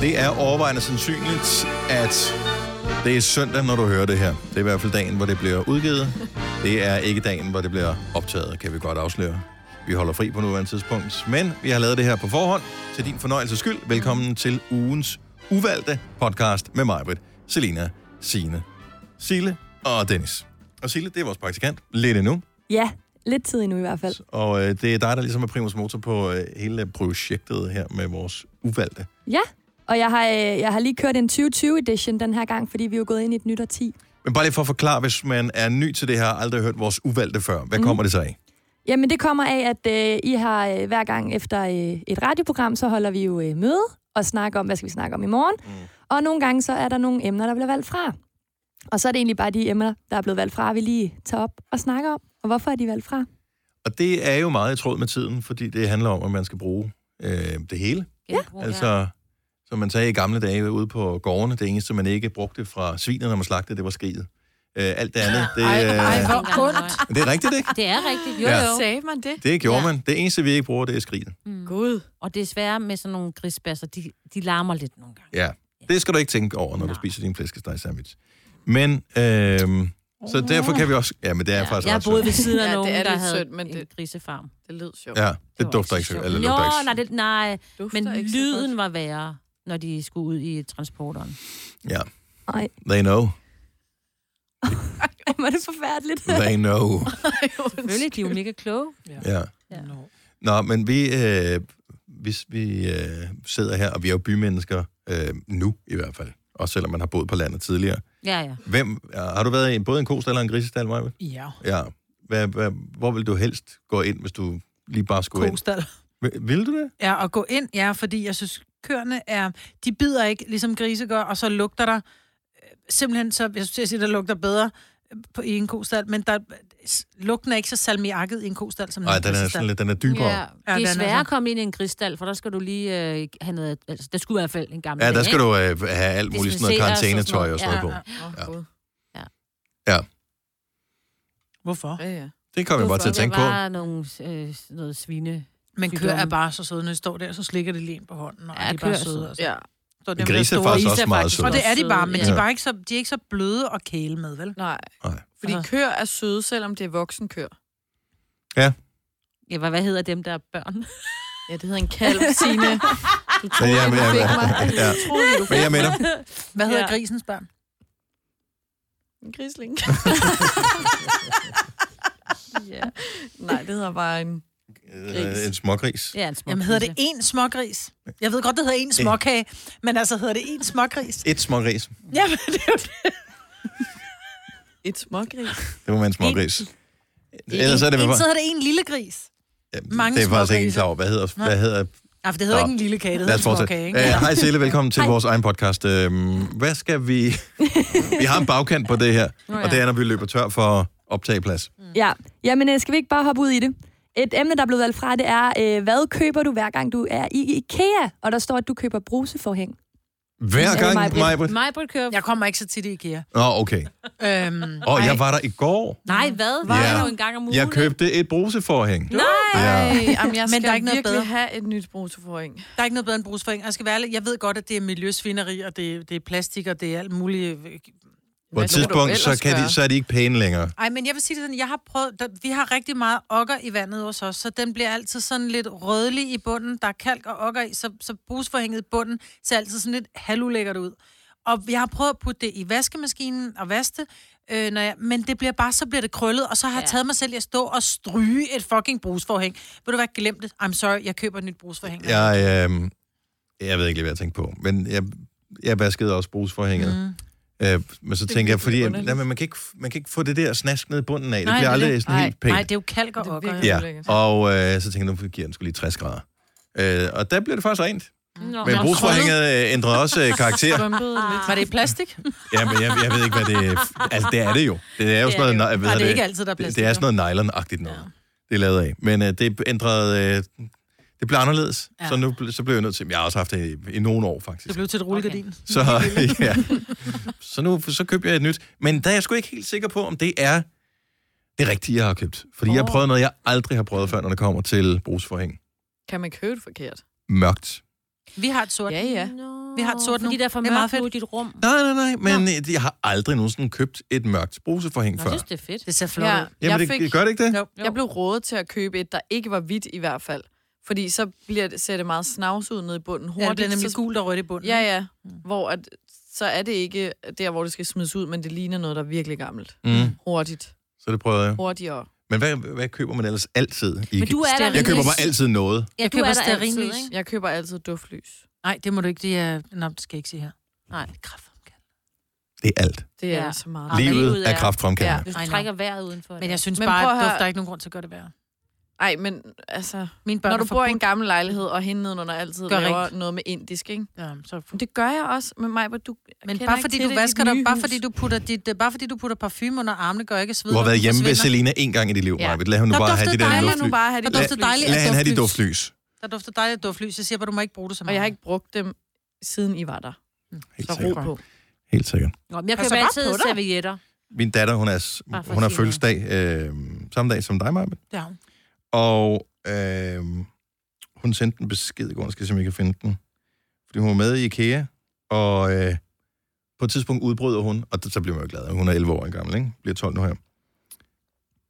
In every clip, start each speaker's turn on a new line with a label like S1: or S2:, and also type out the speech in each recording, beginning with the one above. S1: Det er overvejende sandsynligt, at det er søndag, når du hører det her. Det er i hvert fald dagen, hvor det bliver udgivet. Det er ikke dagen, hvor det bliver optaget, kan vi godt afsløre. Vi holder fri på nuværende tidspunkt, men vi har lavet det her på forhånd. Til din fornøjelses skyld, velkommen til ugens uvalgte podcast med mig, Britt, Selina, Sine, Sile og Dennis. Og Sile, det er vores praktikant, lidt endnu.
S2: Ja, lidt tid endnu i hvert fald.
S1: Og øh, det er dig, der ligesom er primus motor på øh, hele projektet her med vores uvalgte.
S2: Ja, og jeg har, øh, jeg har lige kørt en 2020 edition den her gang, fordi vi er jo gået ind i et nyt årti.
S1: Men bare lige for at forklare, hvis man er ny til det her, og aldrig har hørt vores uvalgte før, hvad mm. kommer det så af?
S2: Jamen det kommer af, at øh, I har øh, hver gang efter øh, et radioprogram, så holder vi jo øh, møde og snakker om, hvad skal vi snakke om i morgen. Mm. Og nogle gange så er der nogle emner, der bliver valgt fra. Og så er det egentlig bare de emner, der er blevet valgt fra, vi lige tager op og snakker om. Og hvorfor er de valgt fra?
S1: Og det er jo meget i tråd med tiden, fordi det handler om, at man skal bruge øh, det hele.
S2: Ja.
S1: Altså, som man sagde i gamle dage ude på gårdene, det eneste, man ikke brugte fra svinet, når man slagtede, det var skriget. Øh, alt det andet, det,
S3: Ej, ej,
S1: øh,
S3: hvor ondt.
S1: men det er rigtigt, ikke?
S4: Det er rigtigt, jo
S1: Ja.
S4: jo.
S3: Sagde man det?
S1: Det gjorde
S4: Ja.
S1: man. Det eneste, vi ikke bruger, det er skriget.
S3: Gud.
S4: Og desværre med sådan nogle grisbasser, de, de larmer lidt nogle gange.
S1: Ja, det skal du ikke tænke over, når du
S4: Nej.
S1: spiser din flæskesteg sandwich. Men, øh, så derfor kan vi også... Ja, men det er ja, faktisk
S4: jeg
S1: ret
S4: boede
S1: sødt.
S4: ved siden af
S3: Ja, det
S4: nogen,
S3: er
S4: der
S3: lidt
S4: havde
S3: synd, men
S4: en
S3: det-
S4: grisefarm. Det
S3: Det lød sjovt.
S1: Ja, Altså, det
S4: var
S1: dufter
S4: også
S1: ikke sødt.
S4: sjovt.
S1: Eller
S4: Jo,
S1: lugter ikke
S4: nej, det, nej.
S3: Dufter
S4: men
S3: ikke så
S4: lyden
S3: godt.
S4: var værre, når de skulle ud i transporteren.
S1: Ja,
S2: Nej,
S1: they know.
S2: var det forfærdeligt.
S1: They know.
S4: Selvfølgelig, de er jo mega kloge.
S1: Ja.
S4: Ja.
S1: Nå, men vi, øh, hvis vi øh, sidder her, og vi er jo bymennesker øh, nu i hvert fald, også selvom man har boet på landet tidligere.
S4: Ja, ja.
S1: Hvem, har du været i en- både en kostal eller en grisestal, Maja?
S5: Ja,
S1: Ja. Hvad, hvad, hvor vil du helst gå ind, hvis du lige bare skulle ind?
S5: kostal.
S1: Vil- Vil du det?
S5: Ja, og gå ind, ja, fordi jeg synes, køerne er... De bider ikke, ligesom grise gør, og så lugter der... øh, Simpelthen så, jeg synes, jeg siger, der lugter bedre øh, på, i en kostal, men der, s- lugten er ikke så salmiakket i en kostal, som i
S1: Nej,
S5: en
S1: den er
S5: grisestald.
S1: sådan lidt, den er dybere.
S4: Ja,
S1: Ja,
S4: det
S5: Ja, den
S4: er
S5: er
S4: sværere
S5: så-
S4: at komme ind i en grisstal, for der skal du lige øh, have noget... Altså, der skulle i hvert fald en gammel
S1: ja der
S4: dag,
S1: skal
S4: ikke?
S1: du øh, have alt muligt sådan noget
S4: Desinficere og sådan
S1: karantænetøj og sådan
S4: noget.
S1: noget på.
S3: Åh, Gud.
S5: Hvorfor?
S3: Ja, ja.
S1: Det kom jeg bare til at tænke
S4: Det
S1: på.
S4: var bare nogle, øh, noget svine...
S5: Men køer
S4: Sygdomme.
S5: er bare så søde, når de står der, så slikker de lige ind på hånden, og
S4: Ja,
S5: ja, de er bare
S4: køer er
S5: søde.
S4: søde.
S5: Altså.
S3: ja.
S5: Så dem,
S1: Men
S5: der
S1: grise er
S5: store-
S1: faktisk
S4: Is er
S1: også meget
S4: faktisk
S1: søde.
S5: Og det er de bare, men
S1: Ja.
S5: de, er bare ikke så, de er ikke så bløde og kæle med, vel?
S3: Nej.
S1: Nej.
S3: Fordi
S5: Altså.
S3: køer er søde, selvom det er voksenkøer.
S4: Ja, hvad, hvad hedder dem, der er børn?
S3: Ja, det hedder en kalv, Signe. Du
S1: Men
S3: troede,
S1: jeg,
S3: ja,
S1: men
S3: men,
S1: jeg,
S3: du fik mig.
S1: ja.
S3: Du troede, du
S1: Men
S3: fik
S1: jeg mener,
S5: Hvad hedder
S4: Ja.
S5: ja. grisens børn?
S3: en grisling. ja. Nej, det hedder bare en...
S1: øh, en smågris.
S4: Ja, en små
S5: Jamen hedder det
S4: grise.
S5: én smågris? Jeg ved godt, det hedder én småkage, men altså hedder det én smågris?
S1: Et smågris.
S5: Ja, men det er jo det.
S3: Et smågris.
S1: Det må være en smågris. Ellers er det
S5: en,
S1: bare...
S5: så hedder det én lille gris.
S1: Ja, det-
S5: Mange
S1: det er faktisk ikke en
S5: smågrise.
S1: klar over. Hvad hedder, hvad hedder
S5: Nej, for det hedder
S1: Nå.
S5: ikke en lille kage, det
S1: Lad
S5: hedder
S1: os
S5: en småkage,
S1: fortsætte.
S5: ikke?
S1: Øh, Hej Sille, velkommen til
S2: Hej.
S1: vores egen podcast. Øhm, Hvad skal vi... vi har en bagkant på det her,
S4: Nå ja.
S1: og det er, når vi løber tør for optageplads.
S2: Ja, jamen øh, skal vi ikke bare hoppe ud i det? Et emne, der er blevet valgt fra, det er, øh, hvad køber du hver gang du er i IKEA? Og der står, at du køber bruseforhæng.
S1: Hver
S2: Ja,
S1: gang,
S2: Maj-Brit.
S1: Majbrit.
S4: Majbrit
S1: Øh.
S4: kører...
S5: Jeg kommer ikke så tit i IKEA.
S1: Nå, okay.
S5: Øhm,
S1: Og jeg var der i går.
S4: Nej, hvad?
S1: Ja.
S4: Var det jo en gang om ugen?
S1: Jeg
S4: ikke?
S1: købte et bruseforhæng.
S4: Nej!
S1: Ja.
S3: Ej, jamen, jeg skal
S5: Men der er ikke noget
S3: virkelig
S5: bedre.
S3: have et nyt bruseforring.
S5: der er ikke noget bedre end brusforhæng. Jeg skal være ærlig, jeg ved godt, at det er miljøsvineri, og det, det er plastik, og det er alt muligt. øh,
S1: På et
S3: skal du
S1: tidspunkt, så,
S3: ellers
S1: kan de,
S3: gøre?
S1: så er de ikke pæne længere.
S5: Ej, men jeg vil sige det sådan, jeg har prøvet, der, vi har rigtig meget okker i vandet hos os, så den bliver altid sådan lidt rødlig i bunden. Der er kalk og okker i, så, så brusforhænget i bunden ser altid sådan lidt halulækkert ud. Og jeg har prøvet at putte det i vaskemaskinen og vaske det, øh, når jeg, men det bliver bare, så bliver det krøllet, og så har jeg
S4: Ja.
S5: taget mig selv i at stå og stryge et fucking brusforhæng. Vil du være glemt det? I'm sorry, jeg køber et nyt brusforhæng.
S1: Jeg, øh, jeg ved ikke lige, hvad jeg tænkte på, men jeg, jeg vaskede også bruseforhænget. Mm. Øh, men så
S3: Det er
S1: tænker jeg,
S3: virkelig
S1: fordi
S3: underligt.
S1: nej, men man, kan ikke, man kan ikke få det der snask ned i bunden af. Det
S5: Nej,
S1: bliver
S5: det er
S1: aldrig
S5: det.
S1: sådan helt pænt.
S5: Nej, det er jo kalk og
S3: Det er
S5: okker.
S3: virkelig-
S1: Ja,
S3: ulækkert.
S1: og øh, så tænkte jeg, nu giver den skulle lige 60 grader. Øh, og der blev det faktisk rent.
S4: Nå,
S1: Men
S4: nå,
S1: brugsforhænget øh, ændrede også øh, karakter.
S3: Bumpede lidt.
S5: Var det i plastik?
S1: Ja, men jeg, jeg ved ikke, hvad det Altså, det er det jo. Det er jo sådan noget... nej, hvad
S5: Nej,
S1: hedder
S5: det er ikke altid, der er
S1: det,
S5: plastik.
S1: det er sådan noget nylon-agtigt noget. Det er lavet af. Men øh, det ændrede... Øh, det blev anderledes. Ja.
S5: Ja.
S1: Så nu ble- så blev jeg nødt til... Jeg har også haft det i, i nogle år, faktisk.
S5: Det blev til et rullegardin.
S1: Så, ja. så nu så købte jeg et nyt. Men der er jeg sgu ikke helt sikker på, om det er det rigtige, jeg har købt. Fordi oh. jeg har
S5: Åh.
S1: prøvet noget, jeg aldrig har prøvet før, når det kommer til brugsforhæng.
S3: Kan man købe det forkert?
S1: Mørkt.
S5: Vi har et sort.
S3: Ja, ja.
S4: Nå.
S5: Vi har et sort nu.
S4: Fordi der er for
S5: det er meget
S4: mørkt
S5: fedt.
S4: nu i dit rum.
S1: Nej, nej, nej, men øh, jeg har aldrig nogensinde købt et mørkt bruseforhæng
S4: Nå,
S1: før.
S4: jeg synes, det er fedt.
S5: Det ser flot ud.
S1: Jamen,
S3: jeg
S1: det,
S3: fik-
S1: fik... gør det ikke det?
S5: Jo.
S3: Jeg blev rådet til at købe et, der ikke var hvidt i hvert fald. Fordi så bliver det, ser det meget snavs ud nede i bunden
S5: Ja, det
S3: hurtigt.
S5: bliver nemlig
S3: så,
S5: gult og rødt i bunden.
S3: Ja, ja.
S5: Mm.
S3: Hvor at, så er det ikke der, hvor det skal smides ud, men det ligner noget, der er virkelig gammelt.
S1: Mm,
S3: Hurtigt.
S1: så det prøvede jeg.
S3: Hurtigere.
S1: Men hvad, hvad køber man ellers altid? Ikke?
S4: Men du er der
S1: jeg køber
S4: vel-
S1: bare altid noget.
S4: Ja,
S5: Jeg
S4: du
S5: køber
S4: er der altid,
S5: stearinlys.
S4: ikke?
S3: Jeg køber altid duftlys.
S5: Nej, det må du ikke. Det er... Nå, det skal jeg ikke sige her. Nej, kraftfremkaldende.
S1: Det er alt.
S3: Det er
S4: Ja.
S3: ja. så meget.
S4: Lige-
S1: Livet
S4: livet
S1: er
S4: er-
S1: kraftfremkaldende.
S4: Hvis
S5: I
S4: du
S5: know.
S4: trækker vejret udenfor.
S5: Men jeg synes
S3: Men
S5: bare,
S3: prøv
S5: at
S3: at høre-
S5: duft, der er ikke nogen grund til at gøre det værre.
S3: Ej, men altså...
S5: Mine børn
S3: Når
S5: er
S3: du
S5: for
S3: bor i en gammel lejlighed, og hende nedenunder altid
S5: Gør
S3: Gør laver
S5: rent.
S3: noget med indisk, ikke?
S5: Ja, så...
S3: Men det gør jeg også med mig, hvor du
S5: Men
S3: kender
S5: bare
S3: ikke
S5: fordi
S3: til
S5: du
S3: det i
S5: vasker
S3: dit
S5: dig,
S3: nye
S5: bare
S3: hus.
S5: fordi du putter dit, øh, bare fordi du putter parfume under armene, gør ikke sved.
S1: Du har været hjemme ved Selina en gang i dit liv,
S3: Ja.
S1: ja. Maja. Lad hende
S5: Der
S1: nu bare have det
S5: duftede
S1: der
S5: dejligt
S1: duftlys.
S3: nu bare have
S5: Der
S3: det
S1: Lad-
S5: dufter dejligt
S1: Lad
S5: af
S1: hende have det
S5: duftlys.
S1: duftlys.
S5: Der dufter dejligt af duftlys. Jeg siger bare, du må ikke bruge det så
S3: Og
S5: meget.
S3: jeg har ikke brugt dem, siden I var der.
S1: Helt
S3: Så ro
S1: sikkert.
S3: på.
S1: Helt sikkert.
S4: Nå, men jeg
S5: Pas
S4: køber
S5: så bare
S4: altid
S5: på dig.
S4: servietter.
S1: Min datter, hun er, s-
S4: Bare for
S1: hun har
S4: at sige
S1: fødselsdag øh, samme dag som dig, Maja.
S5: Ja.
S1: Og øh, hun sendte en besked i går, jeg skal se, om jeg kan finde den. Fordi hun var med i IKEA, og øh, på et tidspunkt udbryder hun, og så bliver man jo glad, hun er 11 år gammel, ikke? bliver 12 nu her.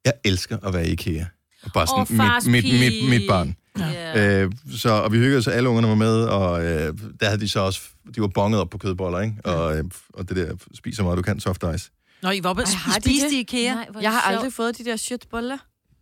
S1: Jeg elsker at være i IKEA. Og bare
S4: Åh,
S1: sådan,
S4: fars
S1: oh, mit, mit, mit, mit
S4: pige.
S1: barn.
S4: Ja.
S1: Øh, så, og vi hyggede så alle ungerne var med, og øh, der havde de så også, de var bonget op på kødboller, ikke? Og, øh, og det der, spis så meget du kan, soft ice.
S5: Nå, I var oppe og
S3: Ej, har de
S5: spiste
S3: det?
S5: i IKEA.
S4: Nej, hvor er
S3: Jeg har
S4: det
S3: aldrig fået de der shitboller.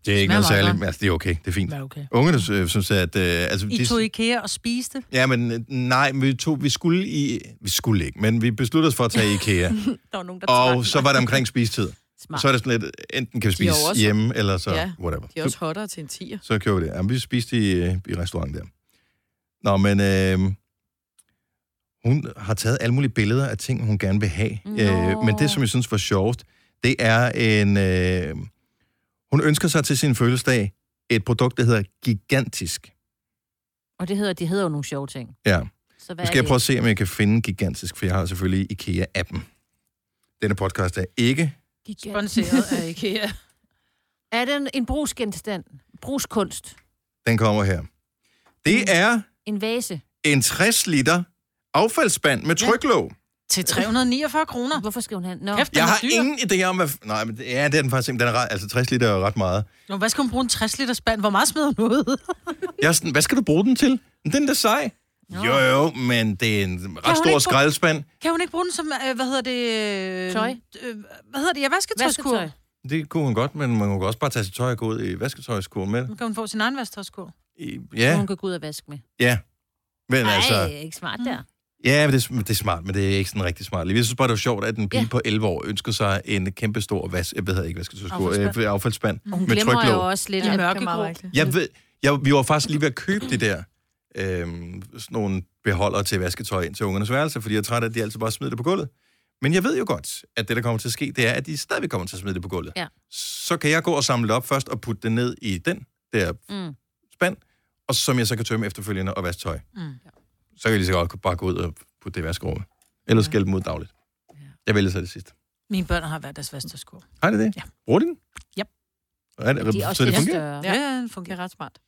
S1: Det er ikke
S5: Smager
S1: noget
S5: meget
S1: særligt,
S5: godt.
S1: men altså, det er okay, det er fint.
S5: Ja, okay.
S1: Ungerne øh, synes, at... Øh, altså,
S5: I tog IKEA og spiste.
S1: Ja, men øh, nej, men vi, tog, vi skulle i... Vi skulle ikke, men vi besluttede os for at tage i IKEA.
S4: sjovt. Der var nogen, der tvang
S1: og
S4: mig.
S1: så var det omkring spistid.
S4: Smart.
S1: Så er det sådan lidt, enten kan vi
S3: De er jo
S1: spise
S3: også-
S1: hjemme, eller så
S3: Ja,
S1: whatever.
S3: De er også hotter til en tiger.
S1: Så køber vi det. Jamen, vi spiste i, øh, i restaurant der. Nå, men øh, hun har taget alle mulige billeder af ting, hun gerne vil have. Øh, men det, som jeg synes var sjovest, det er en... Øh, hun ønsker sig til sin fødselsdag et produkt, der hedder Gigantisk.
S4: Og det hedder, de hedder jo nogle sjove ting.
S1: Ja.
S4: Så hvad
S1: Nu skal
S4: er
S1: jeg
S4: det?
S1: prøve at se, om jeg kan finde Gigantisk, for jeg har selvfølgelig IKEA-appen. Denne podcast er ikke...
S5: Sponsoreret af IKEA.
S4: Er det en, en brugsgenstand? Brugskunst?
S1: Den kommer her. Det
S4: Mm.
S1: er
S4: En vase?
S1: en 60 liter affaldsspand med tryklåg.
S5: Til 349 kroner.
S4: Hvorfor skal hun have... Nå,
S5: Kæft, den
S1: Jeg
S5: er
S1: har
S5: dyr.
S1: ingen idé om, hvad... f- Nej, men det- ja, det er den faktisk ikke. Den er ret, altså 60 liter er jo ret meget.
S5: Nå, hvad skal hun bruge en 60 liter spand? Hvor meget smider hun ud?
S1: Jeg er sådan, hvad skal du bruge den til? Den er da sej. Jo, jo, men det er en ret
S5: hun ikke
S1: stor
S5: bruge-
S1: skraldespand.
S5: Kan hun ikke bruge den som, øh, hvad hedder det? Øh,
S4: Tøj?
S5: Øh, hvad hedder det? Ja, vasketøjskur.
S4: vasketøj.
S1: Det kunne hun godt, men man kunne også bare tage sit tøj og gå ud i vasketøjskurven med det.
S5: Nu kan hun få sin egen vasketøjskur.
S1: I-
S4: Ja.
S1: Ja,
S4: Hun Mm. kan gå ud og vaske med.
S1: ja. Men
S4: Nej,
S1: altså...
S4: altså... ikke smart der.
S1: Ja, men det, er, det er smart, men det er ikke sådan rigtig smart. Jeg synes bare, det var sjovt, at en pige ja.
S4: Ja.
S1: på 11 år ønsker sig en kæmpe stor vas, jeg ved ikke, hvad skal affaldsspand.
S5: Affaldsspand.
S1: Øh, affaldsspand
S4: Og hun
S1: med
S4: glemmer
S1: tryklåg.
S4: jo også lidt,
S5: Ja,
S4: at
S5: mørkegrå.
S1: Jeg ved, jeg, vi var faktisk lige ved at købe det der, øhm, sådan nogle beholder til vasketøj ind til ungernes værelse, fordi jeg er træt af, at de altid bare smider det på gulvet. Men jeg ved jo godt, at det, der kommer til at ske, det er, at de stadigvæk kommer til at smide det på gulvet.
S4: Ja.
S1: Så kan jeg gå og samle det op først og putte det ned i den der
S4: Mm.
S1: spand, og som jeg så kan tømme efterfølgende og vaske tøj.
S5: Mm.
S1: Så kan jeg lige så godt bare gå ud og putte det i vaskerummet. Ellers skælde dem ud dagligt. Jeg vælger så det sidste.
S5: Mine børn har været deres vasketøjskur.
S1: Har det det?
S5: Ja.
S1: Bruger de den?
S5: Yep.
S1: Er det,
S4: De er
S1: så
S4: også
S1: det
S4: lidt
S1: fungerer?
S4: større.
S3: Ja.
S5: Ja, ja, den
S3: Det
S5: fungerer.
S3: er ret smart.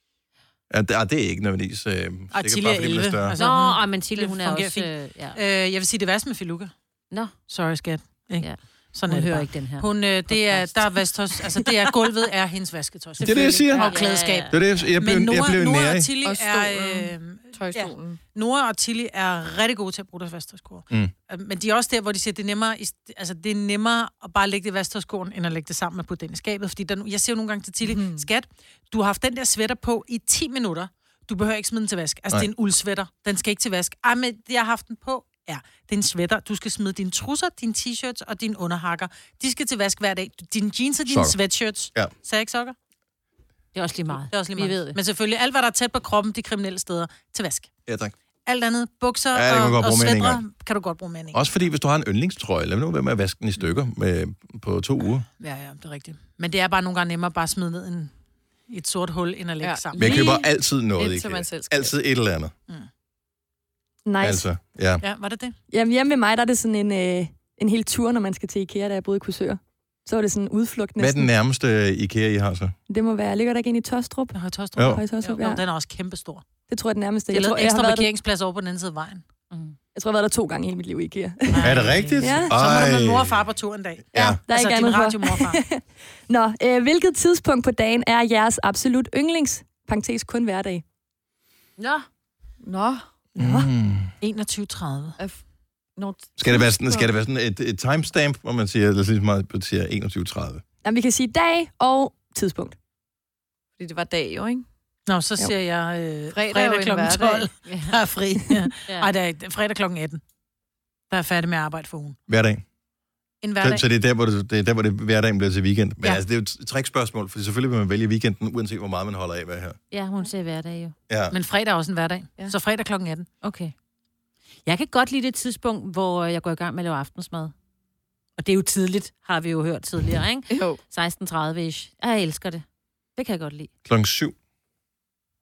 S1: Ja, det, ah, det er ikke nødvendigvis... Øh, sikkert
S5: Og Tilly
S1: bare,
S5: er
S1: fordi den
S5: 11.
S1: større.
S5: Altså,
S4: Nå,
S5: hun-
S4: og men Tilly,
S5: det
S4: hun er
S5: fungerer
S4: også... Øh, ja.
S5: Øh, jeg vil sige, det værste med Filuka.
S4: Nå.
S5: Sorry, skat. Ikke?
S4: Ja.
S5: Ja. Sådan
S4: Hun
S5: er det
S4: hører
S5: bare.
S4: ikke den her.
S5: Hun, øh, det er, der er vasketøjs, altså det er, gulvet er hendes vasketøj.
S1: Det er det, jeg siger.
S5: Og klædeskab.
S1: Det var det, jeg blev,
S5: Men
S1: jeg blev
S5: Nora, Nora
S1: nærig.
S5: og Tilly
S3: Og
S5: er... Øh,
S3: Tøjstolen. Ja.
S5: Nora og Tilly er rigtig gode til at bruge deres vasketøjskur.
S1: Mm.
S5: Øh, Men de er også der, hvor de siger, det er nemmere, i st- altså, det er nemmere at bare lægge det i vasketøjskurven, end at lægge det sammen med på den i skabet. Fordi der, jeg siger jo nogle gange til Tilly, mm. skat, du har haft den der sweater på i 10 minutter. Du behøver ikke smide den til vask.
S1: Nej.
S5: Altså, Nej. det er en uldsweater. Den skal ikke til vask. Ej, men jeg har haft den på. Ja, det er en sweater. Du skal smide dine trusser, dine t-shirts og dine underhakker. De skal til vask hver dag. Dine jeans og
S1: Sokker.
S5: dine sokker. sweatshirts.
S1: Ja.
S5: Sagde jeg ikke sokker?
S4: Det er også lige meget.
S5: Det er også lige meget.
S4: Vi ved det.
S5: Men selvfølgelig, alt hvad der er tæt på kroppen, de kriminelle steder, til vask.
S1: Ja, tak.
S5: Alt andet, bukser
S1: Ja, det kan man
S5: og,
S1: godt
S5: og
S1: bruge med en
S5: svætter, kan du godt bruge med en enkelt.
S1: Også fordi, hvis du har en yndlingstrøje, lad nu være med at vaske den i stykker med, på to uger.
S5: Ja, ja, det er rigtigt. Men det er bare nogle gange nemmere bare at smide ned en, i et sort hul, end at lægge ja.
S3: Ja.
S5: sammen.
S1: Men jeg
S3: Lige
S1: køber altid noget,
S3: indtil man
S1: ikke? øh,
S3: selv skal.
S1: Altid et eller andet.
S2: Nice.
S1: Altså, ja.
S5: Ja, var det det?
S2: Jamen hjemme ved mig, der er det sådan en, øh, en hel tur, når man skal til Ikea, da jeg boede i Kursør. Så var det sådan en udflugt
S1: Hvad er den
S2: næsten.
S1: nærmeste øh, IKEA, I har så?
S2: Det må være, ligger der ikke ind i Tostrup?
S5: Jeg har Tostrup.
S1: Jo.
S2: Høje Tostrup,
S5: Jo,
S2: ja.
S5: den er også kæmpestor.
S2: Det tror jeg er den nærmeste.
S5: Det er
S2: Jeg tror,
S5: lavet
S2: jeg
S5: ekstra
S2: har været der,
S5: parkeringsplads over på den anden side af vejen.
S4: Mm.
S2: Jeg tror, jeg har været der to gange i hele mit liv i IKEA.
S1: Er det rigtigt?
S2: Ja.
S5: Så må du
S1: Ej.
S5: med mor og far på tur en dag.
S1: Ja.
S2: Der er
S5: altså,
S2: ikke
S5: din
S2: andet for.
S5: radio, mor og far.
S2: Nå, øh, hvilket tidspunkt på dagen er jeres absolut yndlings? Parenthes kun hverdag.
S4: Nå.
S3: Nå,
S1: Mm.
S5: 21.30.
S3: er f- Nå,
S1: Skal det være sådan, skal det være sådan et, et timestamp, hvor man siger, lad os lige meget siger 21.30?
S2: Jamen, vi kan sige dag og tidspunkt.
S3: Fordi det var dag jo, ikke?
S5: Nå, så
S2: Jo.
S5: siger jeg øh,
S3: Fredag er
S5: fredag,
S3: jo en
S5: fredag kl. 12.
S3: hverdag.
S4: Ja.
S5: Der er fri.
S4: Ja.
S5: Ej, der er, det er fredag kl. 18. Der er jeg færdig med at arbejde for ugen.
S1: Hver dag.
S5: En
S1: Så,
S5: hverdag.
S1: så det er der, hvor, det, det er der, hvor det, hverdagen bliver til weekend. Men ja.
S5: Ja.
S1: altså, det er jo et trækspørgsmål, for selvfølgelig vil man vælge weekenden, uanset hvor meget man holder af hvad her.
S4: ja, hun ser hverdag jo.
S1: Ja.
S5: Men fredag er også en hverdag.
S3: Ja.
S5: Så fredag kl. 18.
S4: Okay. Jeg kan godt lide det tidspunkt, hvor øh, jeg går i gang med at lave aftensmad. Og det er jo tidligt, har vi jo hørt tidligere, ikke?
S3: Jo.
S4: 16.30-ish. Jeg elsker det. Det kan jeg godt lide.
S1: Klokken 7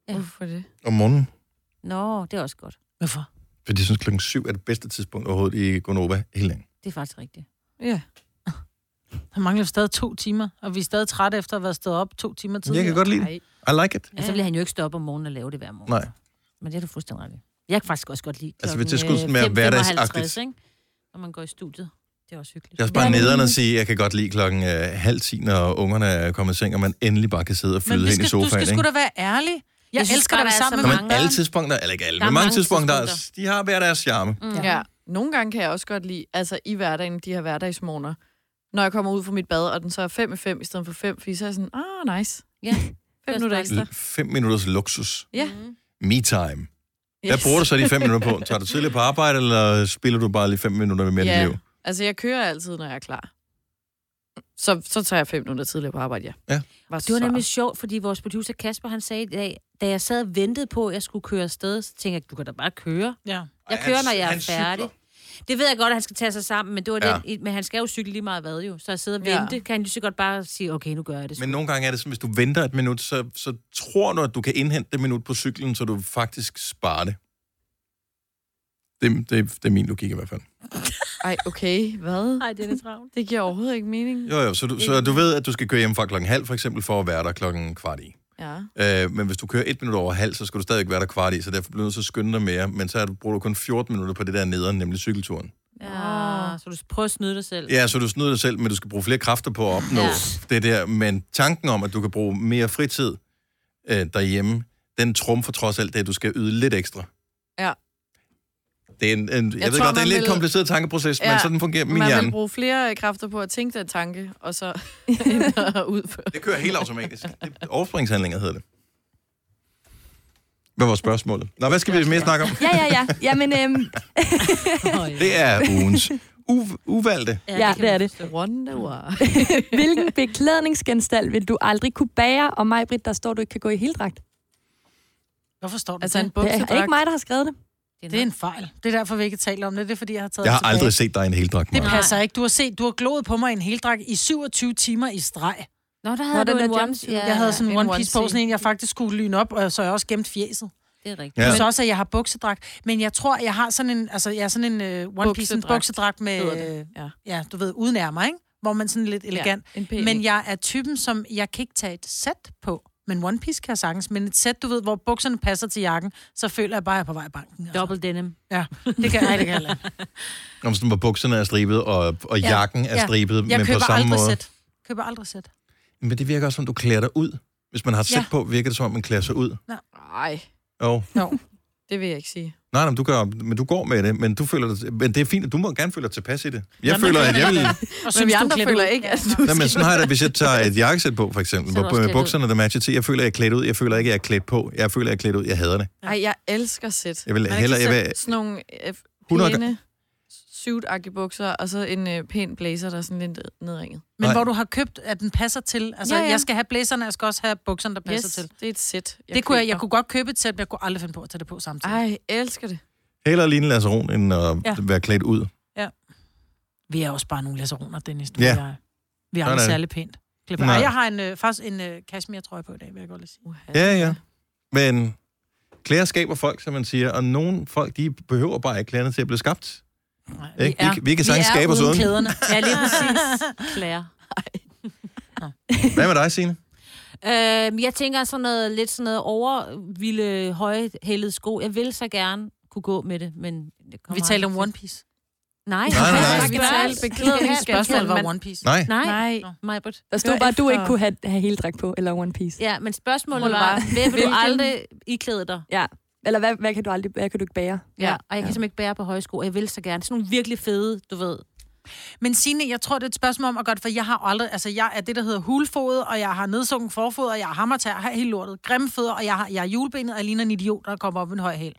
S4: Ja.
S3: Hvorfor det?
S1: om morgenen.
S4: Nå, det er også godt.
S5: Hvorfor?
S1: Fordi jeg synes, klokken 7 er det bedste tidspunkt overhovedet i Gonova hele dagen.
S4: Det er faktisk rigtigt.
S3: Ja.
S5: Der mangler jo stadig to timer, og vi er stadig trætte efter at have været stået op to timer
S1: Jeg
S5: tidligere.
S1: kan godt lide det. I like it.
S4: Altså, så vil han jo ikke stå op om morgenen og lave det hver morgen.
S1: Nej.
S4: Men det er du fuldstændig ret i. Jeg kan faktisk også godt lide
S1: Altså,
S4: klokken,
S1: hvis det skulle
S4: øh,
S1: sådan være
S4: 5:55,
S1: hverdagsagtigt.
S4: ikke? Når man går i studiet. Det er også hyggeligt.
S1: Jeg er også bare nederen at sige, at jeg kan godt lide klokken øh, halv 10, når ungerne er kommet i seng, og man endelig bare kan sidde og
S5: Men
S1: flyde
S5: vi
S1: ind i
S5: skal, du
S1: sofaen.
S5: skal sgu
S1: ikke?
S5: da være ærlig. Jeg, jeg
S4: Jeg synes
S5: elsker
S4: bare,
S5: dig
S4: der er
S5: sammen
S4: så
S5: med
S1: Nå,
S5: mange.
S1: men
S4: mange-
S1: alle tidspunkter, eller ikke alle,
S4: Der
S1: men
S4: er
S1: mange
S4: mange
S1: tidspunkter,
S4: tidspunkter.
S1: de har hver deres charme.
S4: Mm.
S3: Ja. Nogle gange kan jeg også godt lide, altså i hverdagen, de her hverdagsmorgener, når jeg kommer ud fra mit bad, og den så er 5 i 5 i stedet for 5, fordi så er jeg sådan, ah, nice.
S4: Ja.
S3: 5 minutter ekstra.
S1: L- Fem minutters luksus.
S3: Ja.
S4: Mm.
S1: Me time.
S3: Yes.
S1: Hvad bruger du så de fem minutter på? Tager du tidligt på arbejde, eller spiller du bare lige fem minutter med mere
S3: Ja.
S1: liv?
S3: Altså, jeg kører altid, når jeg er klar. Så, så tager jeg 5 minutter tidligere på arbejde, ja.
S1: Ja.
S3: Var
S4: Det var nemlig sjovt, fordi vores producer Kasper, han sagde i dag, da jeg sad og ventede på, at jeg skulle køre afsted, så tænkte jeg, du kan da bare køre.
S5: Ja.
S4: Jeg
S1: Ej,
S4: kører,
S1: han-
S4: når jeg
S1: han
S4: er færdig. Det ved jeg godt, at han skal tage sig sammen, men, det var
S1: Ja.
S4: ja. den, men han skal jo cykle lige meget hvad jo. Så at sidde og
S3: Ja.
S4: vente, ja. kan han lige så godt bare sige, okay, nu gør jeg det.
S1: Men nogle gange er det sådan, hvis du venter et minut, så, så tror du, at du kan indhente det minut på cyklen, så du faktisk sparer det. Det, det, det er min logik i hvert fald.
S3: Ej, okay, hvad?
S4: Nej, det er travlt.
S3: Det giver overhovedet ikke mening.
S1: Jo, jo, så du, så du ved, at du skal køre hjem fra klokken halv, for eksempel, for at være der klokken kvart i.
S3: Ja.
S1: Øh, men hvis du kører et minut over halv, så skal du stadig være der kvart i, så derfor bliver du nødt til at skynde dig mere. Men så er du, bruger du kun 14 minutter på det der nederen, nemlig cykelturen.
S4: Ja, så du prøver at snyde dig selv.
S1: Ja, så du snyder dig selv, men du skal bruge flere kræfter på at opnå ja.
S4: Ja.
S1: det der. Men tanken om, at du kan bruge mere fritid øh, derhjemme, den trumfer trods alt det, at du skal yde lidt ekstra.
S3: Ja.
S1: Det er en, en, jeg, jeg ved
S3: tror,
S1: godt, det er en
S3: man
S1: lidt
S3: vil-
S1: kompliceret tankeproces, ja, men
S3: Ja,
S1: sådan fungerer min
S3: Man
S1: hjerne.
S3: vil bruge flere øh, kræfter på at tænke den tanke, og så end at udføre.
S1: Det kører helt automatisk. Det er overspringshandlinger hedder det. Hvad var spørgsmålet? Nå, hvad skal vi mere snakke om?
S2: Ja, ja, ja. Jamen, øhm,
S1: Det er ugens u- uvalgte.
S2: Ja,
S4: kan
S2: det
S4: man
S2: er det.
S4: forstå.
S3: Wonder.
S2: hvilken beklædningsgenstand vil du aldrig kunne bære? Og mig, Britt, der står, du ikke kan gå i heldragt.
S5: Hvorfor står du
S3: Altså
S5: altså,
S3: en
S2: Det
S5: det?
S3: buksedragt.
S2: er ikke mig, der har skrevet det.
S5: Det er en fejl. Det er derfor, vi ikke taler om det. Det er fordi, jeg har taget
S1: Jeg har
S5: det tilbage.
S1: aldrig set dig i en heldragt,
S5: Det
S1: Maja.
S5: passer ikke. Du har set, du har glået på mig i en heldrag i 27 timer i streg.
S4: Nå, der
S2: Nå,
S4: havde
S2: den
S4: du en
S2: der
S4: one...
S2: jumpsuit.
S4: Ja,
S5: Jeg havde sådan
S3: en
S5: en one piece på,
S3: onesie.
S5: sådan en, jeg faktisk skulle lyne op, og så har jeg også gemt fjeset.
S4: det er rigtigt.
S1: Ja.
S5: Ja. Så også, at jeg har buksedragt. Men jeg tror, jeg har sådan en, altså, jeg har sådan en uh, one piece en
S3: Buksedragt
S5: buksedragt med,
S3: hedder det,
S5: ja.
S3: ja.
S5: ja, du ved, uden ærmer, ikke? Hvor man sådan lidt elegant.
S3: Ja, en pæn
S5: Ja,
S3: en.
S5: men jeg er typen, som, jeg kan ikke tage et sæt på. Men one piece kan jeg sagtens. Men et sæt, du ved, hvor bukserne passer til jakken, så føler jeg bare, at jeg er på vej i banken. Altså.
S4: Double denim.
S5: Ja, det kan, ej, det kan jeg ikke.
S1: Om sådan, hvor bukserne er stribet, og, og
S5: Ja,
S1: jakken er
S5: ja.
S1: stribet,
S5: Jeg
S1: men på
S5: køber
S1: samme
S5: aldrig
S1: måde.
S5: sæt. Køber aldrig sæt.
S1: Men det virker også, som du klæder dig ud. Hvis man har et sæt
S5: Ja.
S1: på, virker det som om, man klæder sig ud.
S3: Nej,
S1: Jo.
S5: No.
S3: det vil jeg ikke sige.
S1: Nej, nej, men du, gør, men du går med det, men, du føler dig, men det er fint, at du må gerne føle dig tilpas i det. Jeg
S5: Jamen,
S1: føler,
S5: det
S1: at jeg vil...
S5: Og
S3: Men vi
S5: du er
S3: andre
S5: klædt
S3: føler
S5: ud.
S3: ikke, at du
S1: Nej, men sådan har jeg det, hvis jeg tager et jakkesæt på, for eksempel,
S4: Så er du
S1: hvor
S4: også
S1: øh,
S4: klædt ud.
S1: bukserne der matcher til, jeg føler, at jeg er klædt ud, jeg føler ikke, at jeg er klædt på, jeg føler, at jeg er klædt ud, jeg hader det.
S3: Ej, jeg elsker sæt.
S1: Jeg vil
S5: kan
S1: hellere, jeg vil,
S3: Sådan nogle øh,
S1: 100
S3: pæne, suit bukser, og så en øh, pæn blazer, der er sådan lidt nedringet.
S5: Men
S1: Nej.
S5: hvor du har købt, at den passer til. Altså, ja,
S3: Ja,
S5: ja.
S3: ja.
S5: jeg skal have blæserne, jeg skal også have bukserne, der passer yes. til.
S3: det er et sæt.
S5: Det kunne jeg, jeg kunne godt købe et sæt, men jeg kunne aldrig finde på at tage det på samtidig. Ej.
S3: Ej, jeg elsker det.
S1: hellere ligne Lasseron, end at
S5: Ja.
S1: være klædt ud.
S5: Vi er også bare nogle laseroner, Dennis. Du
S1: Ja.
S5: ja. Jeg. Vi er
S1: Sådan er
S5: aldrig
S1: det.
S5: særlig pænt. Klip. Ej,
S1: Nej.
S5: jeg har en, øh, faktisk en øh, cashmere-trøje på i dag, vil jeg godt lige sige.
S3: Uha.
S1: Ja, ja. Men klæder skaber folk, som man siger, og nogle folk, de behøver bare ikke klæderne til at blive skabt.
S5: Nej,
S1: Ikke? Vi, kan- vi kan sagtens skabe os uden.
S5: klæderne.
S4: Ja, lige præcis. Claire.
S1: Hvad med dig, Signe?
S4: Øhm, Øh, jeg tænker sådan noget, lidt sådan noget overvilde, høje, hælede sko. Jeg vil så gerne kunne gå med det, men... Det kommer
S5: Vi talte om
S4: aldrig
S5: One
S4: til.
S5: Piece.
S4: Nej,
S1: Nej, nej, nej.
S4: vi
S3: Vi talte beklædning.
S5: Spørgsmålet var
S3: Men-
S5: One Piece.
S1: Nej,
S4: Nej, nej.
S3: Nej.
S4: Majbert.
S2: Der stod
S3: Hør
S2: bare, at du
S3: efter.
S2: ikke kunne have, have heldragt på, eller One Piece.
S4: Ja, men spørgsmålet
S3: Hun
S4: var,
S3: var,
S4: hvad vil du
S3: hvilken-
S4: aldrig iklæde dig?
S2: Eller hvad, hvad, kan du aldrig, hvad kan du ikke bære?
S4: Ja, og jeg kan
S2: Ja.
S4: simpelthen ikke bære på høje sko, og jeg vil så gerne. Sådan nogle virkelig fede, du ved.
S5: Men Signe, jeg tror, det er et spørgsmål om at godt, for jeg har aldrig... Altså, jeg er det, der hedder hulfodet, og jeg har nedsunken forfod, og jeg har hammertær, og har hele lortet, grimme fødder, og jeg har, jeg har julebenet, og jeg ligner en idiot, der kommer op med en høj hæl.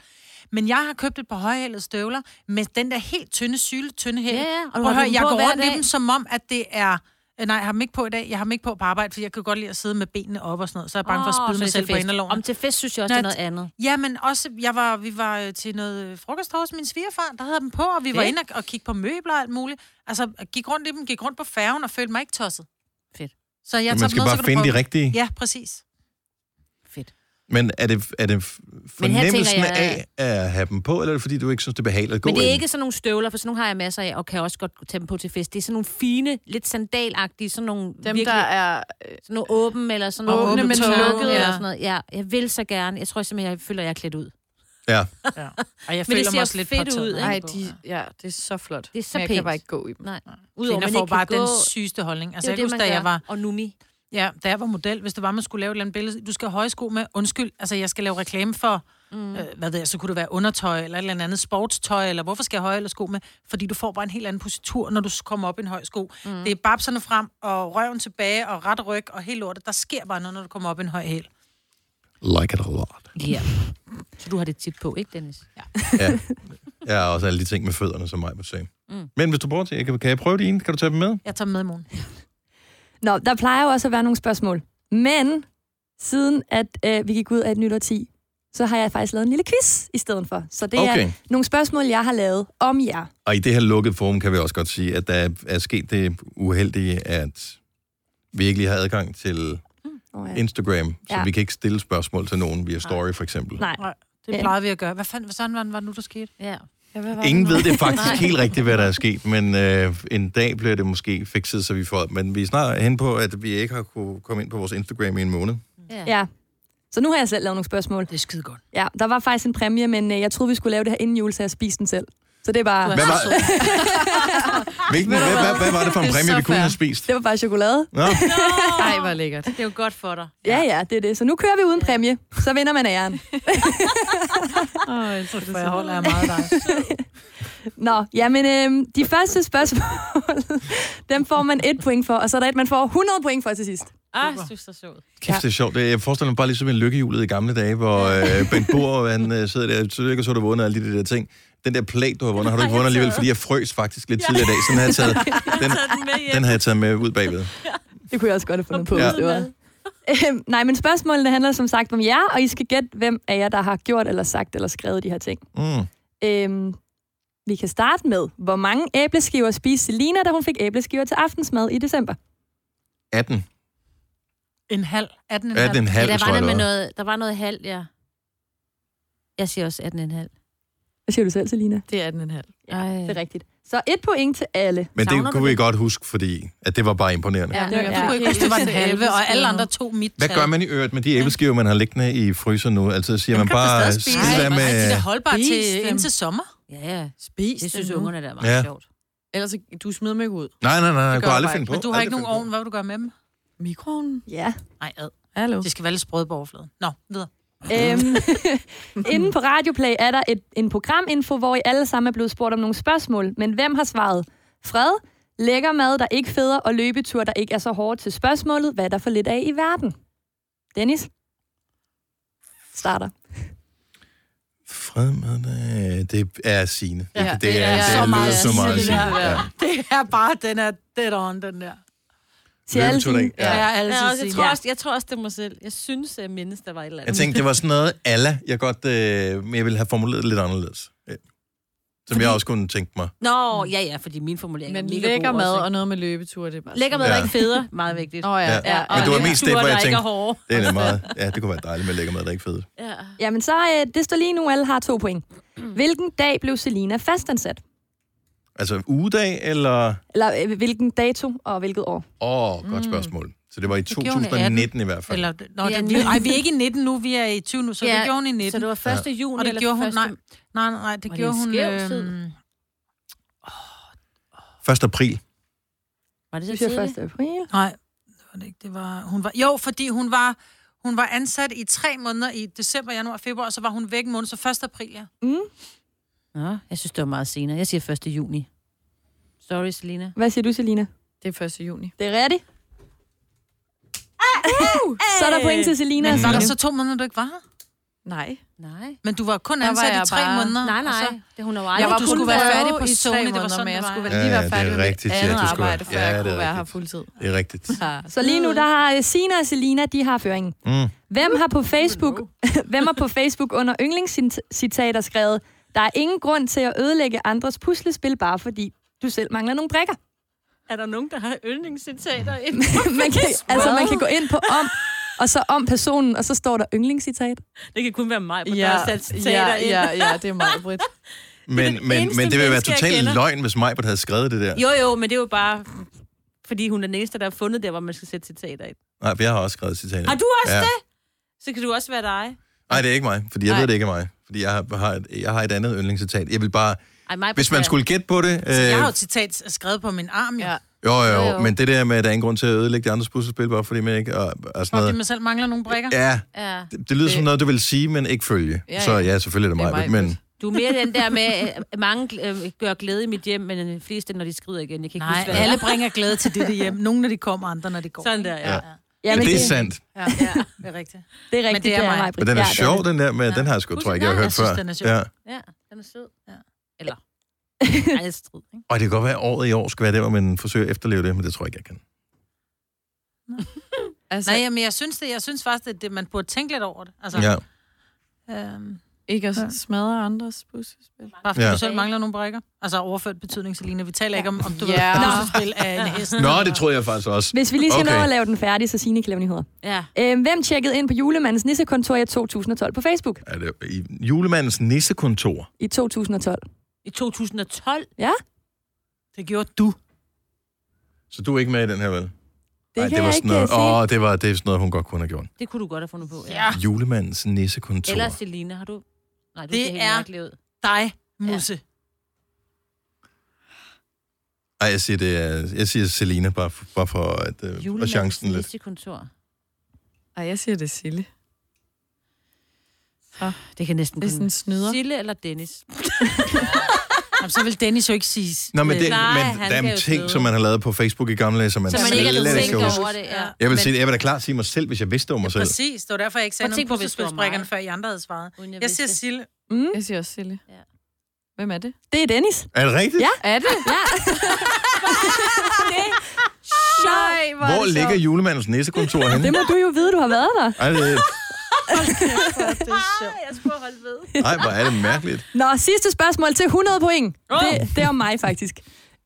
S5: Men jeg har købt et par højhælede støvler med den der helt tynde syle, tynde hæl.
S4: Ja, ja, og du
S5: og
S4: har
S5: hør,
S4: dem
S5: jeg
S4: på
S5: går
S4: hver
S5: rundt i
S4: dag.
S5: dem som om, at det er... Øh, Nej, jeg har dem ikke på i dag. Jeg har dem ikke på på arbejde, for jeg kan godt lide at sidde med benene op og sådan noget, så er jeg bange for at
S4: Åh,
S5: spille
S4: så
S5: mig
S4: til
S5: selv på
S4: fest.
S5: inderloven.
S4: Om til fest synes jeg også,
S5: Nå,
S4: det er noget andet.
S5: Ja, men også, jeg var, vi var øh, til noget øh, frokost hos min svigerfar, der havde dem på, og vi var
S4: Fedt.
S5: inde og, og kigge på møbler og alt muligt. Altså, gik rundt i dem, gik rundt på færgen og følte mig ikke tosset.
S4: Fedt.
S5: Så jeg tager
S1: man
S5: dem
S1: skal
S5: med, så
S1: bare
S5: kan
S1: finde
S5: du
S1: de
S5: prøve
S1: rigtige.
S5: dem. Ja, præcis.
S4: Fedt.
S1: Men er det, er det f-
S4: Men her tænker
S1: fornemmelsen
S4: jeg-
S1: af at have dem på, eller er det fordi, du ikke synes, det er behageligt at gå
S4: Men det er
S1: i
S4: ikke sådan nogle støvler, for sådan nogle har jeg masser af, og kan også godt tage dem på til fest. Det er sådan nogle fine, lidt sandalagtige, sådan nogle
S3: Dem,
S4: virkelig,
S3: der er...
S4: sådan nogle åben eller sådan
S3: Åbne,
S4: nogle
S3: men
S4: lukkede
S3: lukkede,
S4: ja.
S3: ja.
S4: eller sådan noget. Ja, jeg vil så gerne. Jeg tror simpelthen, jeg føler, jeg er klædt ud.
S1: Ja,
S5: Og jeg
S4: Men det
S5: føler
S4: ser
S5: mig også lidt
S4: fedt
S5: påtaget.
S4: ud, ikke?
S5: Nej,
S3: Nej, de, ja, det er så flot.
S4: Det er så
S3: Men jeg kan
S4: pænt.
S3: bare ikke gå i dem.
S4: Nej.
S5: Udover,
S4: man
S5: Kvinder får
S4: ikke
S5: bare
S4: kan
S5: den
S4: gå-
S5: sygeste holdning.
S4: Det
S5: Altså,
S4: er
S5: jeg
S4: jo
S5: kan huske,
S4: man
S5: da jeg
S4: gør.
S5: var,
S4: Og numi.
S5: ja, da jeg var model, hvis det var, man skulle lave et eller andet billede, du skal have høje sko med, undskyld, altså, jeg skal lave reklame for, mm. øh, hvad ved jeg, så kunne det være undertøj, eller et eller andet sportstøj, eller hvorfor skal jeg have høje eller sko med? Fordi du får bare en helt anden positur, når du s- kommer op i en høj sko. Mm. Det er babserne frem, og røven tilbage, og ret ryg, og helt lortet. Der sker bare noget, når du kommer op i en høj hæl.
S1: like it a lot.
S4: Ja. Så du har det tit på, ikke, Dennis? Ja.
S1: Ja. ja, og også alle de ting med fødderne, som mig må sige. Mm. Men hvis du bruger til, kan, kan jeg prøve dine? Kan du tage dem med?
S5: Jeg tager dem med i morgen.
S2: Nå, der plejer jo også at være nogle spørgsmål. Men siden at øh, vi gik ud af et nyt årti, så har jeg faktisk lavet en lille quiz i stedet for. Så det okay. er
S1: Okay.
S2: nogle spørgsmål, jeg har lavet om jer.
S1: Og i det her lukkede forum kan vi også godt sige, at der er sket det uheldige, at vi ikke lige har adgang til
S2: Oh, ja.
S1: Instagram, så
S2: Ja.
S1: vi kan ikke stille spørgsmål til nogen via story for eksempel.
S2: Nej.
S5: Nej,
S2: Ja.
S5: det plejer vi at gøre. Hvad fanden, sådan var det nu, der skete?
S4: ja.
S1: Ingen ved det faktisk helt rigtigt, hvad der er sket, men øh, en dag bliver det måske fikset, så vi får... Men vi er snart hen på, at vi ikke har kunne komme ind på vores Instagram i en måned.
S2: ja. Så nu har jeg selv lavet nogle spørgsmål.
S5: Det er skide godt.
S2: Ja, der var faktisk en præmie, men øh, jeg troede, vi skulle lave det her inden jul, så jeg spiste den selv. Så det er bare...
S1: Hvad var, hvilken, hvad, hvad, hvad var det for en
S3: Det er
S1: præmie,
S3: så
S1: vi kunne
S3: fair.
S1: have spist?
S2: Det var bare chokolade.
S1: Nå,
S3: Nej, hvor lækkert.
S4: Det er jo godt for dig.
S2: Ja, ja, det er det. Så nu kører vi uden præmie. Så vinder man æren.
S5: For jeg holder af meget af dig.
S2: Nå, jamen, øh, de første spørgsmål, dem får man et point for, og så er der et, man får 100 point for til sidst.
S4: Ah, jeg synes, det er sjovt.
S1: kæft, det er sjovt. Jeg forestiller mig bare ligesom en lykkehjulet i gamle dage, hvor øh, Bent Bohr, han øh, sidder der, så ikke, så har du vundet alle de der ting. Den der plag, du har vundet, har du ikke vundet alligevel, fordi jeg frøs faktisk lidt tidligere i dag. Sådan har jeg taget, den, den har jeg taget med ud bagved.
S2: Det kunne jeg også godt have fundet på,
S1: Ja.
S2: hvis det var. Øhm, Nej, men spørgsmålene handler som sagt om jer, og I skal gætte, hvem af jer, der har gjort eller sagt eller skrevet de her ting.
S1: Mm.
S2: Øhm, vi kan starte med, hvor mange æbleskiver spiste Selina, da hun fik æbleskiver til aftensmad i december?
S1: 18.
S5: En halv. 18 en
S1: 18,5,
S5: halv.
S4: Ja,
S1: tror jeg.
S4: der, var noget
S1: det
S4: med
S1: var.
S4: noget, der var noget halv, ja. Jeg siger også 18,5.
S2: Hvad siger du selv, Selina?
S3: Det er den en halv.
S4: Ja,
S2: Det er rigtigt. Så et point til alle.
S1: Men
S4: Savner
S1: det
S4: du
S1: kunne vi
S4: det?
S1: godt huske, fordi at det var bare imponerende.
S4: Ja,
S2: det er-
S5: Jeg kunne ikke huske, det var en halve, og alle andre tog mit
S1: Hvad gør man i øvrigt med de æbleskiver, man har liggende i fryser nu? Altså siger man bare,
S5: spise.
S1: skid
S5: Ej,
S1: være
S5: med... de er
S1: med...
S5: da holdbare til,
S3: Spis dem.
S5: indtil sommer.
S4: Ja, ja.
S3: Spis
S4: Det synes
S3: nu.
S4: ungerne, der er meget
S1: Ja.
S4: ja. sjovt.
S3: Ellers, så- du smider dem ikke ud.
S1: Nej, nej, nej, jeg
S3: gør
S1: kunne
S3: jeg
S1: aldrig
S3: bare
S1: finde på.
S5: Men du har ikke
S1: Aldrig
S5: nogen
S1: finde
S5: ovn. Hvad vil du gøre med dem?
S3: Mikroovnen?
S2: Ja.
S5: Nej, ad.
S3: Hallo?
S5: Det skal være lidt sprød på overfladen. Nå, videre.
S2: Øhm, inden på Radioplay er der et, en programinfo, hvor I alle sammen er blevet spurgt om nogle spørgsmål. Men hvem har svaret? Fred, lækker mad, der ikke feder, og løbetur, der ikke er så hårdt til spørgsmålet, hvad er der for lidt af i verden? Dennis? Starter.
S1: på. Fred med det. Det er Signe.
S3: Ja,
S1: det, det, er, det, er,
S5: så meget
S1: så meget Signe.
S5: Signe, det
S1: Ja.
S5: Det er bare, den er dead on, den der.
S2: Til alle
S1: Løbetur, der
S2: dine-
S1: ikke- Ja.
S5: er altid
S4: Ja, også, jeg,
S5: Signe.
S4: tror også, jeg tror også, det er mig selv. Jeg synes, jeg mindes, der var et eller
S1: Jeg
S4: andet.
S1: tænkte, det var sådan noget alle, jeg godt... Øh, men jeg ville have formuleret det lidt anderledes. Øh, Som jeg også kunne tænke mig.
S4: Nå, ja, ja, fordi min formulering
S3: Men
S4: er mega
S3: lækker
S4: god
S3: mad
S4: også,
S3: og noget med løbetur, det er bare...
S4: ikke? Lækker mad, der
S1: Ja.
S4: ikke federe. Meget vigtigt.
S3: Nå ja,
S1: Ja.
S3: ja. ja.
S1: Men
S4: og
S1: det var mest det,
S4: løbeture,
S1: hvor jeg
S4: der ikke er
S1: tænkte-
S4: hårde.
S1: Det er da meget... Ja, det kunne være dejligt med lækker mad, der ikke fede.
S4: Ja.
S2: Jamen så, øh, det står lige nu, alle har to point. Hvilken dag blev Selina fastansat?
S1: Altså ugedag, eller...
S2: Eller øh, hvilken dato og hvilket år?
S5: Mm.
S1: Åh, oh, godt spørgsmål. Så det var i
S4: gjorde hun i
S1: 2019 i hvert fald.
S5: Eller, nå,
S4: Ja,
S5: ja,
S4: ni-
S5: det, ej, vi er ikke i 19 nu, vi er i 20 nu, så ja, det gjorde hun i 19.
S4: Så det var 1. Ja. juni,
S5: og det
S4: eller
S5: gjorde hun,
S4: første...
S5: nej, nej, nej, det
S4: Var det
S5: gjorde
S4: en
S5: hun... øhm,
S4: skæv tid?
S1: 1. april.
S4: Var det så
S2: Det synes jeg
S4: tidligt?
S2: 1. april.
S5: nej, det var det ikke, det var... Hun var jo, fordi hun var, hun var ansat i tre måneder i december, januar, februar, og så var hun væk en måned, så 1. april, ja.
S2: Mm.
S4: Nå, jeg synes, det var meget senere. Jeg siger 1. juni. Sorry, Selina.
S2: Hvad siger du, Selina?
S3: Det er 1. juni.
S2: Det er rigtigt.
S5: Ah,
S2: Uh, så er der point til Selina.
S5: Men
S2: og
S5: var der
S2: Signe.
S5: så to måneder, du ikke var her?
S3: Nej.
S4: Nej.
S5: Men du var kun
S3: Der var
S5: ansat
S3: jeg
S5: i tre
S3: bare-
S5: måneder.
S4: Nej, nej.
S5: Og så,
S4: Så... Det, hun har jo
S5: Jeg
S4: aldrig...
S5: var
S4: Du
S5: kun
S4: skulle
S5: være
S4: være...
S5: færdig.
S3: færdig
S5: på
S3: i
S5: Sony,
S3: tre
S5: det var
S3: måneder,
S5: sådan,
S3: men
S5: det
S3: jeg
S5: var.
S3: skulle
S1: Ja,
S3: vel lige
S1: ja, det
S3: være
S1: er
S3: færdig med
S1: rigtigt,
S3: mit
S1: ja,
S3: andet
S1: du skulle-
S3: arbejde, før
S1: Ja,
S3: jeg
S1: det er
S3: kunne være her
S1: rigtigt.
S3: fuldtid.
S1: Det er rigtigt.
S3: Ja.
S2: Så lige nu, der har øh, Sina og Selina, de har føringen.
S1: Mm.
S2: Hvem har på Facebook, hvem har på Facebook under yndlingscitater skrevet, der er ingen grund til at ødelægge andres puslespil, bare fordi du selv mangler nogle brikker.
S4: Er der nogen, der har yndlingscitater ind?
S2: man kan, altså, man kan gå ind på om, og så om personen, og så står der yndlingscitat.
S4: Det kan kun være mig, men ja.
S3: Ja,
S4: der er sat citater
S3: ja,
S4: ind.
S3: ja, ja, det er meget bridt.
S1: Men,
S4: det
S1: det men,
S4: eneste
S1: men det ville være
S4: menneske, jeg
S1: totalt
S4: kender.
S1: løgn, hvis Majbert havde skrevet det der.
S4: Jo, jo, men det er jo bare... Fordi hun er den eneste, der har fundet der, hvor man skal sætte citater ind.
S1: Nej, for jeg har også skrevet citater.
S4: Har du også
S1: Ja.
S4: ja. det? Så kan du også være dig.
S1: Nej, det er ikke mig, fordi jeg
S4: Nej.
S1: ved det ikke er mig. Fordi jeg har, har, et, jeg har et andet yndlingscitat. Jeg vil bare...
S4: Ej, mig
S1: Hvis man skulle gætte på det... Øh,
S5: jeg har jo et citat skrevet på min arm, ja.
S3: Ja.
S1: jo, jo,
S3: Jo,
S1: jo,
S3: jo.
S1: men det der med, at der er ingen grund til at ødelægge de andres puslespil, bare fordi man ikke... Og, og sådan
S5: Fordi
S1: noget.
S5: man selv mangler nogle brikker.
S1: Ja,
S4: Ja.
S1: det, det lyder det... som
S3: Det-
S1: noget, du vil sige, men ikke følge.
S3: Ja,
S1: Så
S3: ja.
S1: ja, selvfølgelig er det
S3: Det er
S1: mig,
S3: Majbrit.
S1: men...
S4: Du er mere den der med, at mange øh, gør glæde i mit hjem, men de fleste, når de skrider igen. Jeg kan ikke
S5: Nej,
S4: huske, hvad
S5: alle bringer glæde til dette hjem. Nogle, når de kommer, andre, når de går.
S4: Sådan der, ja.
S1: Ja.
S4: ja.
S1: Ja,
S2: men
S1: det er sandt.
S5: Ja, ja, det er rigtigt.
S2: det er rigtigt,
S5: det er mig.
S1: Men den er
S2: Ja, det
S1: sjov, den der med, den har jeg sgu,
S4: Husk
S1: tror jeg ikke,
S4: den.
S1: jeg har hørt
S5: Jeg synes,
S1: før.
S5: den er sjov.
S1: Ja.
S4: Ja, den er sød.
S5: Ja.
S4: Eller... Ej, jeg strid, ikke?
S1: Og det kan godt være, at året i år skal være der, hvor man forsøger at efterleve det, men det tror jeg ikke, jeg kan.
S3: Altså,
S5: Nej, men jeg synes det. Jeg synes faktisk, at det, man burde tænke lidt over det. Altså,
S1: Ja.
S5: øhm,
S3: ikke at smadre andres puslespil.
S5: bare fordi
S1: Ja.
S5: ja. du selv mangler nogle brikker. Altså overført betydning, Selina. Vi taler ikke om, om du
S3: Ja.
S5: ved, puslespil af en hest.
S1: Nå, det troede jeg faktisk også.
S2: Hvis vi lige skal okay. nå
S1: Okay.
S2: at lave den færdig, så Signe kan lave nyheder.
S4: Ja.
S2: Øh, hvem tjekkede ind på julemandens nissekontor i 2012 på Facebook?
S1: Er det i julemandens nissekontor?
S2: I 2012.
S4: I 2012.
S2: Ja,
S5: Det gjorde du.
S1: Så du er ikke med i den her, vel?
S2: det
S1: Ej,
S2: kan
S1: var
S2: jeg
S1: sådan
S2: ikke
S1: noget,
S2: øh, sige.
S1: Åh, det var det er sådan noget, hun godt kunne have gjort.
S4: Det kunne du godt have fundet på.
S5: Ja.
S1: Julemandens nissekontor.
S4: Eller Selina, har du... Nej, du
S5: Det
S4: ser helt
S5: er-
S4: mærkelig ud.
S5: Dig, Musse. Ja.
S1: Ej, jeg siger, det er, jeg siger Selina, bare for, bare for at, øh, at chancen lidt.
S4: kontor.
S3: Ej, jeg siger, det er Sille.
S4: Det kan næsten
S3: Det er sådan en snyder.
S4: Sille eller Dennis.
S5: Jamen, så vil Dennis jo ikke sige...
S1: Nå, men, det,
S4: Nej,
S1: men
S4: han
S1: der er
S4: kan
S1: jo
S4: jo
S1: ting,
S4: sidde.
S1: som man har lavet på Facebook i gamle dage, som man,
S4: Så man ikke
S1: slet
S4: altid
S1: ikke kan
S4: tænker
S1: huske.
S4: over det. Ja.
S1: Jeg vil,
S4: Men-
S1: sige, jeg vil da klart sige mig selv, hvis jeg vidste det var mig selv.
S5: Præcis, det var derfor, jeg ikke sagde
S4: Og
S5: noget
S4: tænk
S5: om
S4: på, hvis det var mig.
S5: puslespilsbrikkerne, før I andre havde svaret.
S4: Uden
S5: Jeg siger
S4: vidste det.
S5: Sille.
S2: Mm,
S3: Jeg siger også Sille.
S4: Ja.
S3: Hvem er det?
S2: det er Dennis.
S1: Er det rigtigt?
S2: Ja.
S3: Er det?
S2: Ja.
S3: Nej, er
S1: Hvor
S3: det
S1: ligger
S3: sjovt.
S1: julemandens nissekontor henne?
S2: Det må du jo vide, du har været der.
S1: Ej, det,
S3: Det er sjovt.
S4: Jeg skulle holde ved.
S1: ej, hvor er det mærkeligt.
S2: Nå, sidste spørgsmål til 100 point. Det, det er om mig, faktisk.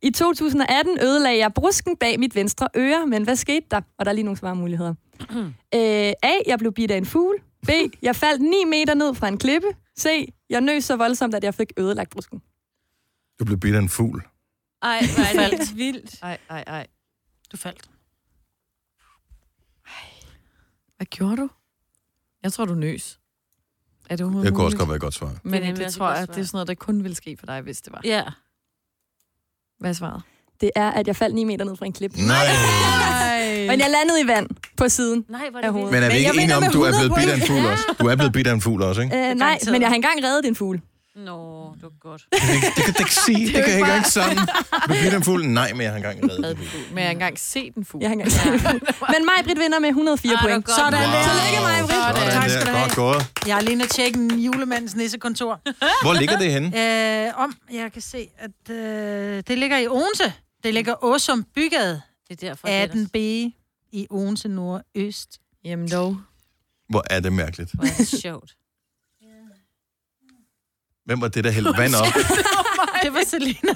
S2: I 2018 ødelagde jeg brusken bag mit venstre øre, men hvad skete der? Og der er lige nogle svarmuligheder. Øh, A. Jeg blev bidt af en fugl. B. Jeg faldt 9 meter ned fra en klippe. C. Jeg nøs så voldsomt, at jeg fik ødelagt brusken.
S1: Du blev bidt af en fugl.
S4: Ej, hvor er det vildt.
S3: Ej, ej, ej.
S5: Du faldt.
S3: Hvad gjorde du? Jeg tror, du nøs. Er det
S1: Det
S3: overhovedet
S1: kunne også
S3: muligt?
S1: godt være et godt svar.
S4: Det er
S3: Men
S4: nemlig
S3: det, det
S4: også et
S3: tror
S4: godt
S3: jeg,
S4: svar.
S3: det er sådan noget, der kun ville ske for dig, hvis det var.
S4: Ja.
S3: Hvad er svaret?
S2: Det er, at jeg faldt 9 meter ned fra en klippe.
S1: Nej.
S2: Men jeg landede i vand på siden. Øh,
S4: Nej, hvor er
S2: Af
S4: det vildt.
S2: hovedet.
S1: Men er vi
S5: Men jeg
S1: ikke enige
S5: vinder
S1: om,
S5: med
S1: du er blevet bidt af en
S5: 100
S1: fugl også? Du er blevet bidt af en fugl også, ikke?
S2: Øh, nej,
S5: garanteret.
S2: men jeg har engang reddet en fugl.
S4: Nå, det var godt.
S1: Det kan du ikke sige. Det kan jeg ikke engang sammen. Du blev bidt af en fugl? Nej, men jeg har engang reddet en fugl.
S3: Men jeg har engang set en fugl.
S2: Jeg har engang reddet en fugl. Men mig, Britt, vinder med 104
S4: Ej,
S2: point.
S4: hvor godt.
S5: Sådan der.
S1: Wow.
S5: Tillykke mig, Britt.
S1: Sådan
S5: Tak
S1: der.
S5: skal du have.
S1: Godt gået.
S5: Jeg er lige nødt til at tjekke julemandens nissekontor.
S1: Hvor ligger det henne?
S5: Øh, om jeg kan se, at øh, det ligger i Odense. Det ligger Åsum Bygade,
S4: Det er derfor, det er
S5: 18B i Odense Nordøst.
S3: Jamen dog.
S1: Hvor er det mærkeligt.
S4: Hvor er det sjovt.
S1: Hvem var det, der hældte vand op?
S5: Det var Selina.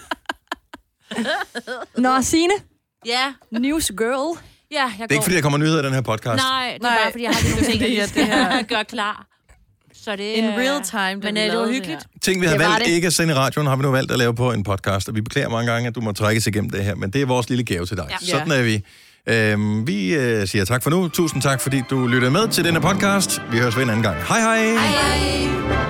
S2: Nå, Signe.
S4: Ja,
S2: News girl.
S4: ja, jeg
S1: Det er ikke, fordi der kommer nyheder i den her podcast.
S4: Nej, det er
S3: Nej.
S4: bare, fordi jeg har lige nogle ting,
S3: Det er
S4: jeg
S3: det her.
S4: skal gøre klar. Så det
S3: In
S4: er-
S3: real time, da
S4: Men
S3: vi
S4: øh, det var
S3: lavede
S4: hyggeligt.
S3: her.
S1: Ting, vi havde
S4: Det var
S1: valgt
S4: det.
S1: ikke at sende i radioen, har vi nu valgt at lave på en podcast. Og vi beklager mange gange, at du må trækkes igennem det her, men det er vores lille gave til dig.
S4: Ja.
S1: Sådan er vi. Øhm, vi øh, siger tak for nu. Tusind tak, fordi du lyttede med til denne podcast. Vi høres ved en anden gang. Hej hej! hej.
S2: Hej.